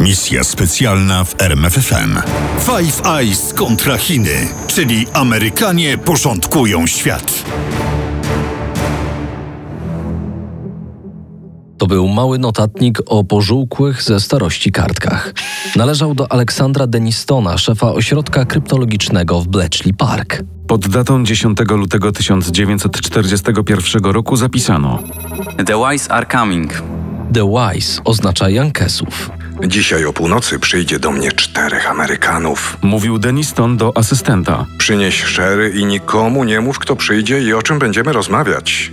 Misja specjalna w RMFFM. Five Eyes kontra Chiny, czyli Amerykanie porządkują świat. To był mały notatnik o pożółkłych ze starości kartkach. Należał do Aleksandra Denistona, szefa ośrodka kryptologicznego w Bletchley Park. Pod datą 10 lutego 1941 roku zapisano: The Wise are coming. The Wise oznacza Jankesów. Dzisiaj o północy przyjdzie do mnie czterech Amerykanów. Mówił Deniston do asystenta. Przynieś szery i nikomu nie mów, kto przyjdzie i o czym będziemy rozmawiać.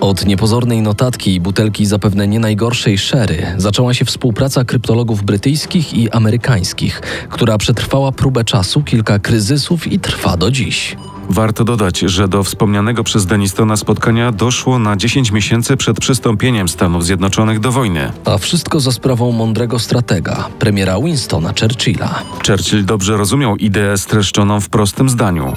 Od niepozornej notatki i butelki zapewne nie najgorszej szery zaczęła się współpraca kryptologów brytyjskich i amerykańskich, która przetrwała próbę czasu, kilka kryzysów i trwa do dziś. Warto dodać, że do wspomnianego przez Denistona spotkania doszło na 10 miesięcy przed przystąpieniem Stanów Zjednoczonych do wojny. A wszystko za sprawą mądrego stratega, premiera Winstona Churchilla. Churchill dobrze rozumiał ideę streszczoną w prostym zdaniu.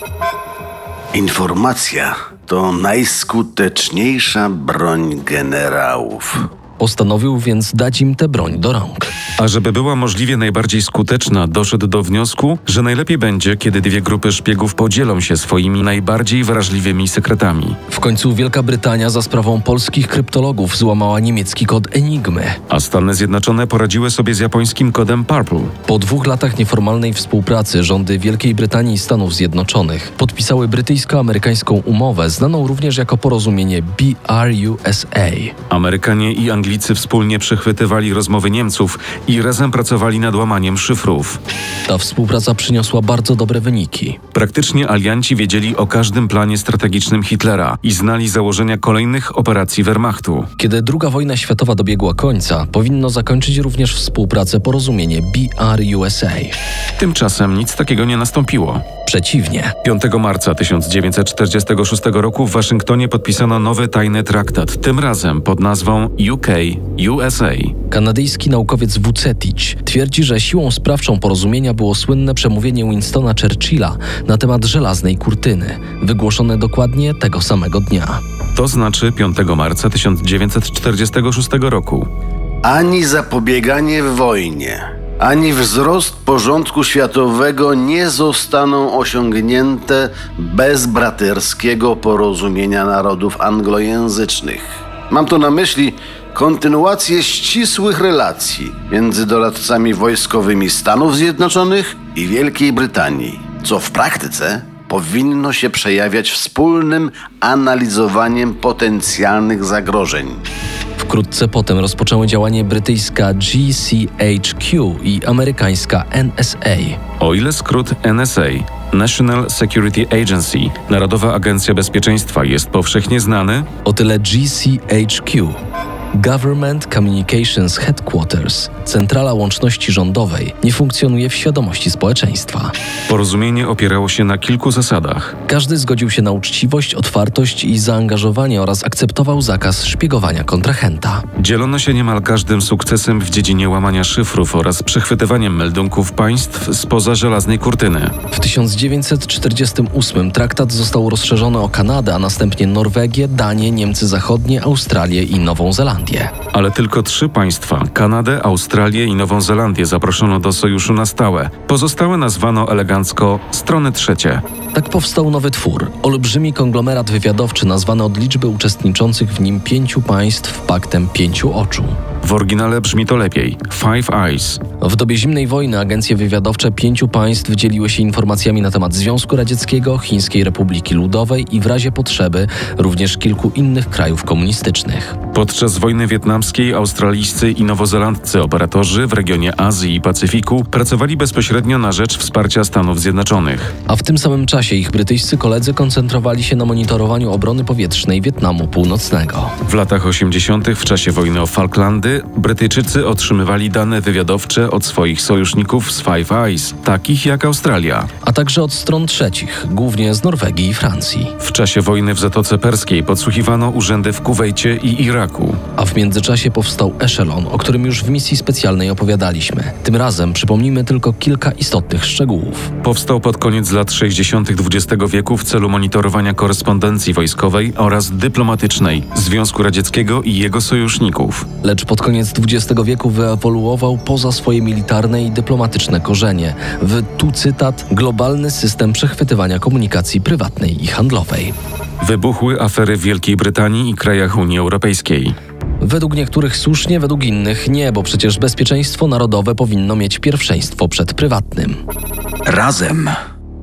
Informacja to najskuteczniejsza broń generałów. Postanowił więc dać im tę broń do rąk. A żeby była możliwie najbardziej skuteczna, doszedł do wniosku, że najlepiej będzie, kiedy dwie grupy szpiegów podzielą się swoimi najbardziej wrażliwymi sekretami. W końcu Wielka Brytania za sprawą polskich kryptologów złamała niemiecki kod Enigmy. A Stany Zjednoczone poradziły sobie z japońskim kodem Purple. Po dwóch latach nieformalnej współpracy rządy Wielkiej Brytanii i Stanów Zjednoczonych podpisały brytyjsko-amerykańską umowę, znaną również jako porozumienie BRUSA. Amerykanie i Anglicy wspólnie przechwytywali rozmowy Niemców i razem pracowali nad łamaniem szyfrów. Ta współpraca przyniosła bardzo dobre wyniki. Praktycznie alianci wiedzieli o każdym planie strategicznym Hitlera i znali założenia kolejnych operacji Wehrmachtu. Kiedy II wojna światowa dobiegła końca, powinno zakończyć również współpracę porozumienie BRUSA. Tymczasem nic takiego nie nastąpiło. Przeciwnie, 5 marca 1946 roku w Waszyngtonie podpisano nowy tajny traktat, tym razem pod nazwą UK-USA. Kanadyjski naukowiec Vucetic twierdzi, że siłą sprawczą porozumienia było słynne przemówienie Winstona Churchilla na temat żelaznej kurtyny, wygłoszone dokładnie tego samego dnia. To znaczy 5 marca 1946 roku. Ani zapobieganie wojnie, ani wzrost porządku światowego nie zostaną osiągnięte bez braterskiego porozumienia narodów anglojęzycznych. Mam tu na myśli kontynuację ścisłych relacji między doradcami wojskowymi Stanów Zjednoczonych i Wielkiej Brytanii, co w praktyce powinno się przejawiać wspólnym analizowaniem potencjalnych zagrożeń. Wkrótce potem rozpoczęły działanie brytyjska GCHQ i amerykańska NSA. O ile skrót NSA, National Security Agency, Narodowa Agencja Bezpieczeństwa, jest powszechnie znany, O tyle GCHQ. Government Communications Headquarters, centrala łączności rządowej, nie funkcjonuje w świadomości społeczeństwa. porozumienie opierało się na kilku zasadach. Każdy zgodził się na uczciwość, otwartość i zaangażowanie oraz akceptował zakaz szpiegowania kontrahenta. Dzielono się niemal każdym sukcesem w dziedzinie łamania szyfrów oraz przechwytywaniem meldunków państw spoza żelaznej kurtyny. W 1948 traktat został rozszerzony o Kanadę, a następnie Norwegię, Danię, Niemcy Zachodnie, Australię i Nową Zelandię. Ale tylko trzy państwa Kanadę, Australię i Nową Zelandię zaproszono do sojuszu na stałe. Pozostałe nazwano elegancko strony trzecie. Tak powstał nowy twór, olbrzymi konglomerat wywiadowczy nazwany od liczby uczestniczących w nim pięciu państw paktem pięciu oczu. W oryginale brzmi to lepiej Five Eyes. W dobie zimnej wojny agencje wywiadowcze pięciu państw dzieliły się informacjami na temat Związku Radzieckiego, Chińskiej Republiki Ludowej i w razie potrzeby również kilku innych krajów komunistycznych. Podczas wojny wietnamskiej australijscy i nowozelandcy operatorzy w regionie Azji i Pacyfiku pracowali bezpośrednio na rzecz wsparcia Stanów Zjednoczonych. A w tym samym czasie ich brytyjscy koledzy koncentrowali się na monitorowaniu obrony powietrznej Wietnamu Północnego. W latach 80. w czasie wojny o Falklandy Brytyjczycy otrzymywali dane wywiadowcze od swoich sojuszników z Five Eyes, takich jak Australia. A także od stron trzecich, głównie z Norwegii i Francji. W czasie wojny w Zatoce Perskiej podsłuchiwano urzędy w Kuwejcie i Iraku. a w międzyczasie powstał Echelon, o którym już w misji specjalnej opowiadaliśmy. Tym razem przypomnijmy tylko kilka istotnych szczegółów. Powstał pod koniec lat 60. XX wieku w celu monitorowania korespondencji wojskowej oraz dyplomatycznej Związku Radzieckiego i jego sojuszników. Lecz pod koniec XX wieku wyewoluował poza swoje militarne i dyplomatyczne korzenie w, tu cytat, globalny system przechwytywania komunikacji prywatnej i handlowej. Wybuchły afery w Wielkiej Brytanii i krajach Unii Europejskiej. Według niektórych słusznie, według innych nie, bo przecież bezpieczeństwo narodowe powinno mieć pierwszeństwo przed prywatnym. Razem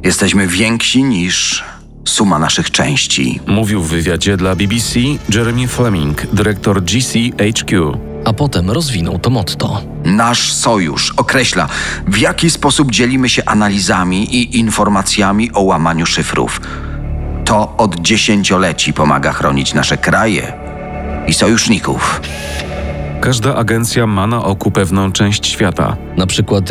jesteśmy więksi niż suma naszych części. Mówił w wywiadzie dla BBC Jeremy Fleming, dyrektor GCHQ. A potem rozwinął to motto. Nasz sojusz określa, w jaki sposób dzielimy się analizami i informacjami o łamaniu szyfrów. To od dziesięcioleci pomaga chronić nasze kraje i sojuszników. Każda agencja ma na oku pewną część świata. Na przykład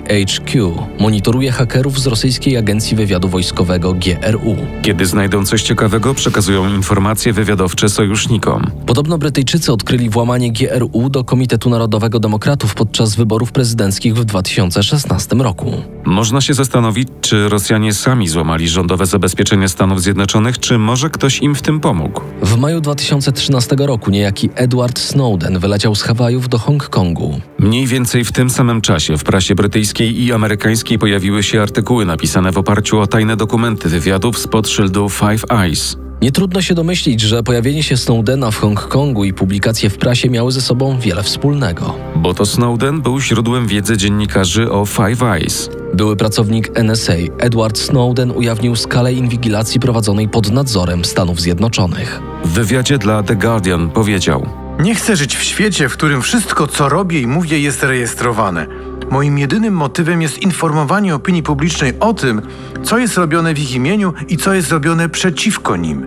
GCHQ monitoruje hakerów z rosyjskiej agencji wywiadu wojskowego GRU. Kiedy znajdą coś ciekawego, przekazują informacje wywiadowcze sojusznikom. Podobno Brytyjczycy odkryli włamanie GRU do Komitetu Narodowego Demokratów podczas wyborów prezydenckich w 2016 roku. Można się zastanowić, czy Rosjanie sami złamali rządowe zabezpieczenia Stanów Zjednoczonych, czy może ktoś im w tym pomógł. W maju 2013 roku niejaki Edward Snowden wyleciał z Hawajów do Hongkongu. Mniej więcej w tym samym czasie w prasie brytyjskiej i amerykańskiej pojawiły się artykuły napisane w oparciu o tajne dokumenty wywiadów spod szyldu Five Eyes. Nie trudno się domyślić, że pojawienie się Snowdena w Hongkongu i publikacje w prasie miały ze sobą wiele wspólnego. Bo to Snowden był źródłem wiedzy dziennikarzy o Five Eyes. Były pracownik NSA Edward Snowden ujawnił skalę inwigilacji prowadzonej pod nadzorem Stanów Zjednoczonych. W wywiadzie dla The Guardian powiedział: Nie chcę żyć w świecie, w którym wszystko, co robię i mówię, jest rejestrowane. Moim jedynym motywem jest informowanie opinii publicznej o tym, co jest robione w ich imieniu i co jest robione przeciwko nim.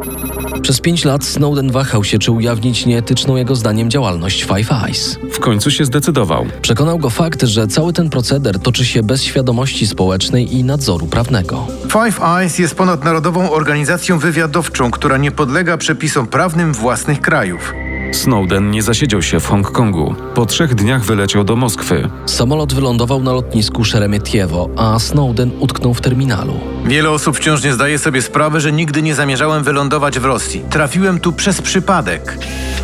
Przez pięć lat Snowden wahał się, czy ujawnić nieetyczną jego zdaniem działalność Five Eyes. W końcu się zdecydował. Przekonał go fakt, że cały ten proceder toczy się bez świadomości społecznej i nadzoru prawnego. Five Eyes jest ponadnarodową organizacją wywiadowczą, która nie podlega przepisom prawnym własnych krajów. Snowden nie zasiedział się w Hongkongu. Po trzech dniach wyleciał do Moskwy. Samolot wylądował na lotnisku Szeremietiewo, a Snowden utknął w terminalu. Wiele osób wciąż nie zdaje sobie sprawy, że nigdy nie zamierzałem wylądować w Rosji. Trafiłem tu przez przypadek.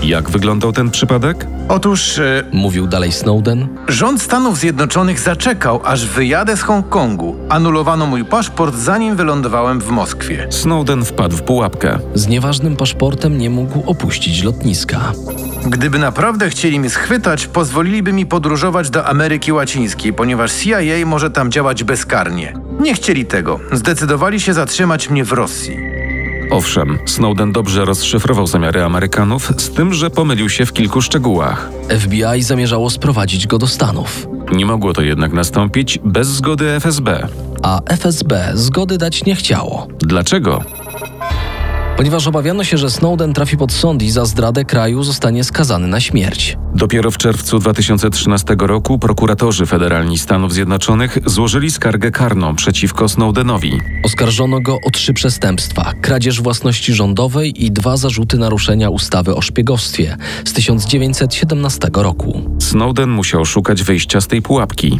Jak wyglądał ten przypadek? Otóż e, Mówił dalej Snowden. Rząd Stanów Zjednoczonych zaczekał, aż wyjadę z Hongkongu. Anulowano mój paszport, zanim wylądowałem w Moskwie. Snowden wpadł w pułapkę. Z nieważnym paszportem nie mógł opuścić lotniska. Gdyby naprawdę chcieli mnie schwytać, pozwoliliby mi podróżować do Ameryki Łacińskiej, ponieważ CIA może tam działać bezkarnie. Nie chcieli tego. Zdecydowali się zatrzymać mnie w Rosji. Owszem, Snowden dobrze rozszyfrował zamiary Amerykanów, z tym, że pomylił się w kilku szczegółach. FBI zamierzało sprowadzić go do Stanów, Nie mogło to jednak nastąpić bez zgody FSB. a FSB zgody dać nie chciało. Dlaczego? Ponieważ obawiano się, że Snowden trafi pod sąd i za zdradę kraju zostanie skazany na śmierć. Dopiero w czerwcu 2013 roku prokuratorzy federalni Stanów Zjednoczonych złożyli skargę karną przeciwko Snowdenowi. Oskarżono go o trzy przestępstwa: kradzież własności rządowej i dwa zarzuty naruszenia ustawy o szpiegowstwie z 1917 roku. Snowden musiał szukać wyjścia z tej pułapki.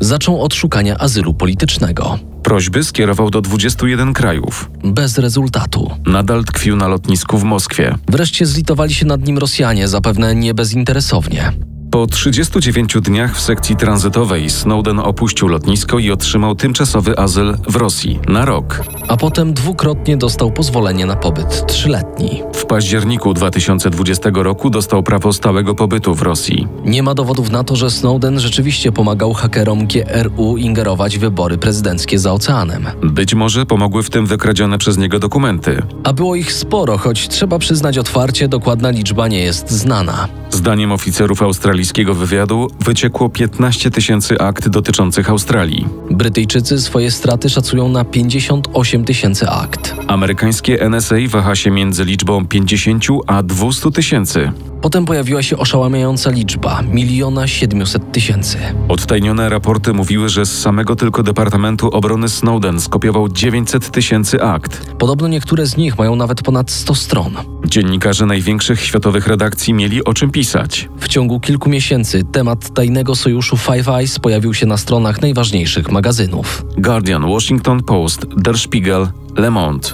Zaczął od szukania azylu politycznego. Prośby skierował do 21 krajów. Bez rezultatu. Nadal tkwił na lotnisku w Moskwie. Wreszcie zlitowali się nad nim Rosjanie, zapewne nie bezinteresownie. Po 39 dniach w sekcji tranzytowej Snowden opuścił lotnisko i otrzymał tymczasowy azyl w Rosji na rok. A potem dwukrotnie dostał pozwolenie na pobyt trzyletni. W październiku 2020 roku dostał prawo stałego pobytu w Rosji. Nie ma dowodów na to, że Snowden rzeczywiście pomagał hakerom GRU ingerować w wybory prezydenckie za oceanem. Być może pomogły w tym wykradzione przez niego dokumenty. A było ich sporo, choć trzeba przyznać otwarcie, dokładna liczba nie jest znana. Zdaniem oficerów australijskiego wywiadu wyciekło 15 tysięcy akt dotyczących Australii. Brytyjczycy swoje straty szacują na 58 tysięcy akt. Amerykańskie NSA waha się między liczbą 50 a 200 tysięcy. Potem pojawiła się oszałamiająca liczba miliona siedmiuset tysięcy. Odtajnione raporty mówiły, że z samego tylko Departamentu Obrony Snowden skopiował 900 tysięcy akt. Podobno niektóre z nich mają nawet ponad 100 stron. Dziennikarze największych światowych redakcji mieli o czym pisać. W ciągu kilku miesięcy temat tajnego sojuszu Five Eyes pojawił się na stronach najważniejszych magazynów. Guardian, Washington Post, Der Spiegel, Le Monde.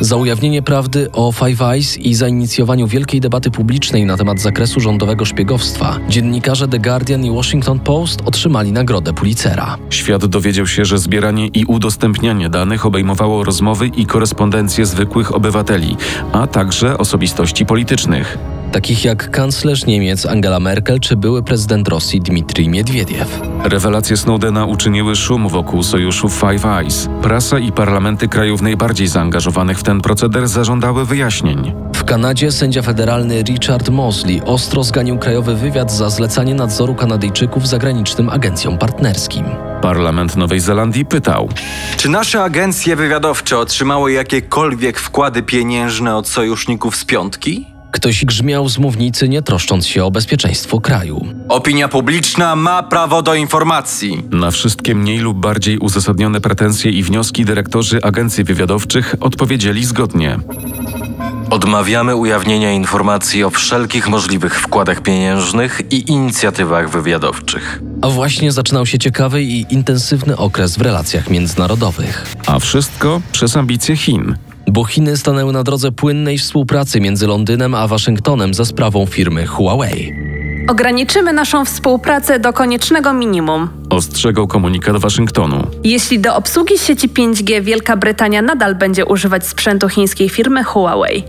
Za ujawnienie prawdy o Five Eyes i zainicjowaniu wielkiej debaty publicznej na temat zakresu rządowego szpiegowstwa, dziennikarze The Guardian i Washington Post otrzymali nagrodę Pulitzera. Świat dowiedział się, że zbieranie i udostępnianie danych obejmowało rozmowy i korespondencje zwykłych obywateli, a także osobistości politycznych. Takich jak kanclerz Niemiec Angela Merkel czy były prezydent Rosji Dmitrij Miedwiediew. Rewelacje Snowdena uczyniły szum wokół sojuszu Five Eyes. Prasa i parlamenty krajów najbardziej zaangażowanych w ten proceder zażądały wyjaśnień. W Kanadzie sędzia federalny Richard Mosley ostro zganił krajowy wywiad za zlecanie nadzoru Kanadyjczyków zagranicznym agencjom partnerskim. Parlament Nowej Zelandii pytał: Czy nasze agencje wywiadowcze otrzymały jakiekolwiek wkłady pieniężne od sojuszników z piątki? Ktoś grzmiał z mównicy, nie troszcząc się o bezpieczeństwo kraju. Opinia publiczna ma prawo do informacji. Na wszystkie mniej lub bardziej uzasadnione pretensje i wnioski dyrektorzy agencji wywiadowczych odpowiedzieli zgodnie. Odmawiamy ujawnienia informacji o wszelkich możliwych wkładach pieniężnych i inicjatywach wywiadowczych. A właśnie zaczynał się ciekawy i intensywny okres w relacjach międzynarodowych, A wszystko przez ambicje Chin. bo Chiny stanęły na drodze płynnej współpracy między Londynem a Waszyngtonem za sprawą firmy Huawei. Ograniczymy naszą współpracę do koniecznego minimum. Ostrzegał komunikat Waszyngtonu. Jeśli do obsługi sieci 5G Wielka Brytania nadal będzie używać sprzętu chińskiej firmy Huawei.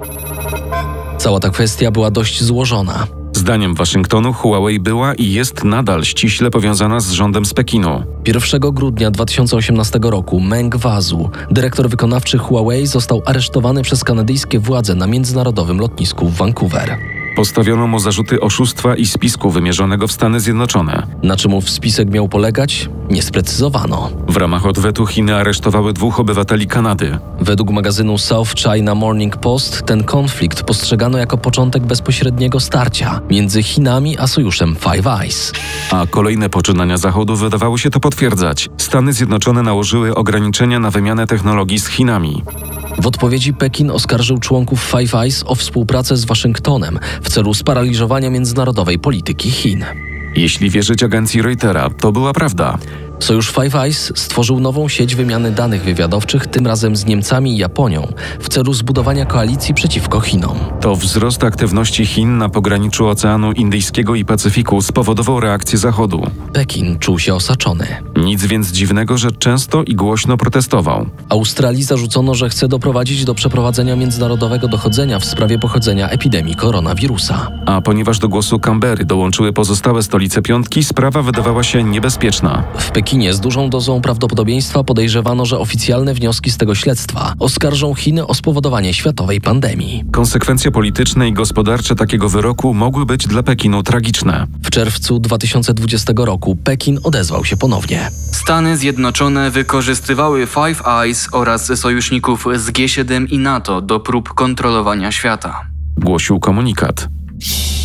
Cała ta kwestia była dość złożona. Zdaniem Waszyngtonu Huawei była i jest nadal ściśle powiązana z rządem z Pekinu. 1 grudnia 2018 roku Meng Wazu, dyrektor wykonawczy Huawei, został aresztowany przez kanadyjskie władze na międzynarodowym lotnisku w Vancouver. Postawiono mu zarzuty oszustwa i spisku wymierzonego w Stany Zjednoczone. Na czym ów spisek miał polegać, nie sprecyzowano. W ramach odwetu Chiny aresztowały dwóch obywateli Kanady. Według magazynu South China Morning Post ten konflikt postrzegano jako początek bezpośredniego starcia między Chinami a sojuszem Five Eyes. A kolejne poczynania Zachodu wydawały się to potwierdzać. Stany Zjednoczone nałożyły ograniczenia na wymianę technologii z Chinami. W odpowiedzi Pekin oskarżył członków Five Eyes o współpracę z Waszyngtonem w celu sparaliżowania międzynarodowej polityki Chin. Jeśli wierzyć agencji Reutera, to była prawda. Sojusz Five Eyes stworzył nową sieć wymiany danych wywiadowczych, tym razem z Niemcami i Japonią, w celu zbudowania koalicji przeciwko Chinom. To wzrost aktywności Chin na pograniczu Oceanu Indyjskiego i Pacyfiku spowodował reakcję Zachodu. Pekin czuł się osaczony. Nic więc dziwnego, że często i głośno protestował. Australii zarzucono, że chce doprowadzić do przeprowadzenia międzynarodowego dochodzenia w sprawie pochodzenia epidemii koronawirusa. A ponieważ do głosu Canberry dołączyły pozostałe stolice piątki, sprawa wydawała się niebezpieczna. W Pekinie z dużą dozą prawdopodobieństwa podejrzewano, że oficjalne wnioski z tego śledztwa oskarżą Chiny o spowodowanie światowej pandemii. Konsekwencje polityczne i gospodarcze takiego wyroku mogły być dla Pekinu tragiczne. W czerwcu 2020 roku Pekin odezwał się ponownie. Stany Zjednoczone wykorzystywały Five Eyes oraz sojuszników z G7 i NATO do prób kontrolowania świata. Głosił komunikat.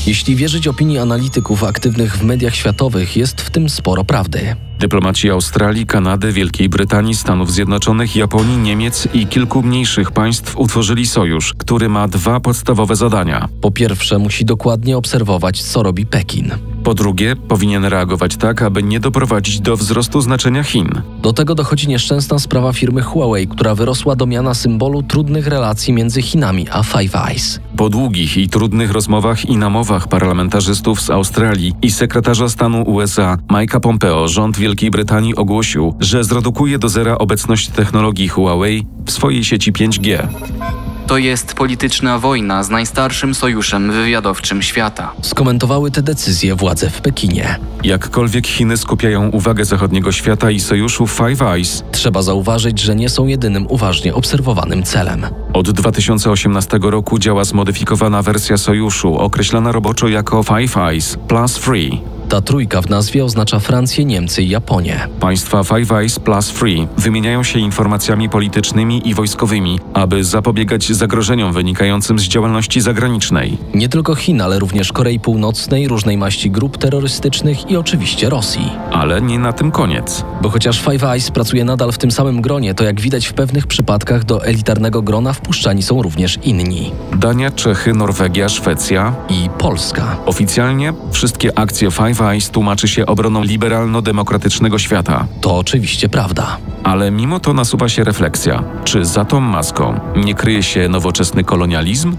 Jeśli wierzyć opinii analityków aktywnych w mediach światowych, jest w tym sporo prawdy. Dyplomaci Australii, Kanady, Wielkiej Brytanii, Stanów Zjednoczonych, Japonii, Niemiec i kilku mniejszych państw utworzyli sojusz, który ma dwa podstawowe zadania. Po pierwsze, musi dokładnie obserwować, co robi Pekin. Po drugie, powinien reagować tak, aby nie doprowadzić do wzrostu znaczenia Chin. Do tego dochodzi nieszczęsna sprawa firmy Huawei, która wyrosła do miana symbolu trudnych relacji między Chinami a Five Eyes. Po długich i trudnych rozmowach i namowach parlamentarzystów z Australii i sekretarza stanu USA Mike'a Pompeo rząd Wielkiej Brytanii ogłosił, że zredukuje do zera obecność technologii Huawei w swojej sieci 5G. To jest polityczna wojna z najstarszym sojuszem wywiadowczym świata. Skomentowały te decyzje władze w Pekinie. Jakkolwiek Chiny skupiają uwagę zachodniego świata i sojuszu Five Eyes, Trzeba zauważyć, że nie są jedynym uważnie obserwowanym celem. od 2018 roku działa zmodyfikowana wersja sojuszu, określana roboczo jako Five Eyes Plus Free. Ta trójka w nazwie oznacza Francję, Niemcy i Japonię. Państwa Five Eyes plus Free wymieniają się informacjami politycznymi i wojskowymi, aby zapobiegać zagrożeniom wynikającym z działalności zagranicznej. Nie tylko Chin, ale również Korei Północnej, różnej maści grup terrorystycznych i oczywiście Rosji. Ale nie na tym koniec. Bo chociaż Five Eyes pracuje nadal w tym samym gronie, to jak widać w pewnych przypadkach do elitarnego grona wpuszczani są również inni. Dania, Czechy, Norwegia, Szwecja i Polska. Oficjalnie wszystkie akcje Five Eyes tłumaczy się obroną liberalno-demokratycznego świata. To oczywiście prawda. Ale mimo to nasuwa się refleksja, czy za tą maską nie kryje się nowoczesny kolonializm?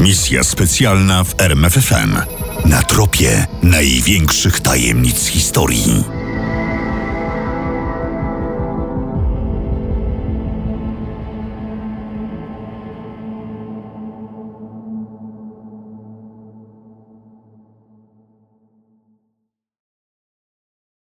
Misja specjalna w RMFFM. Na tropie największych tajemnic historii.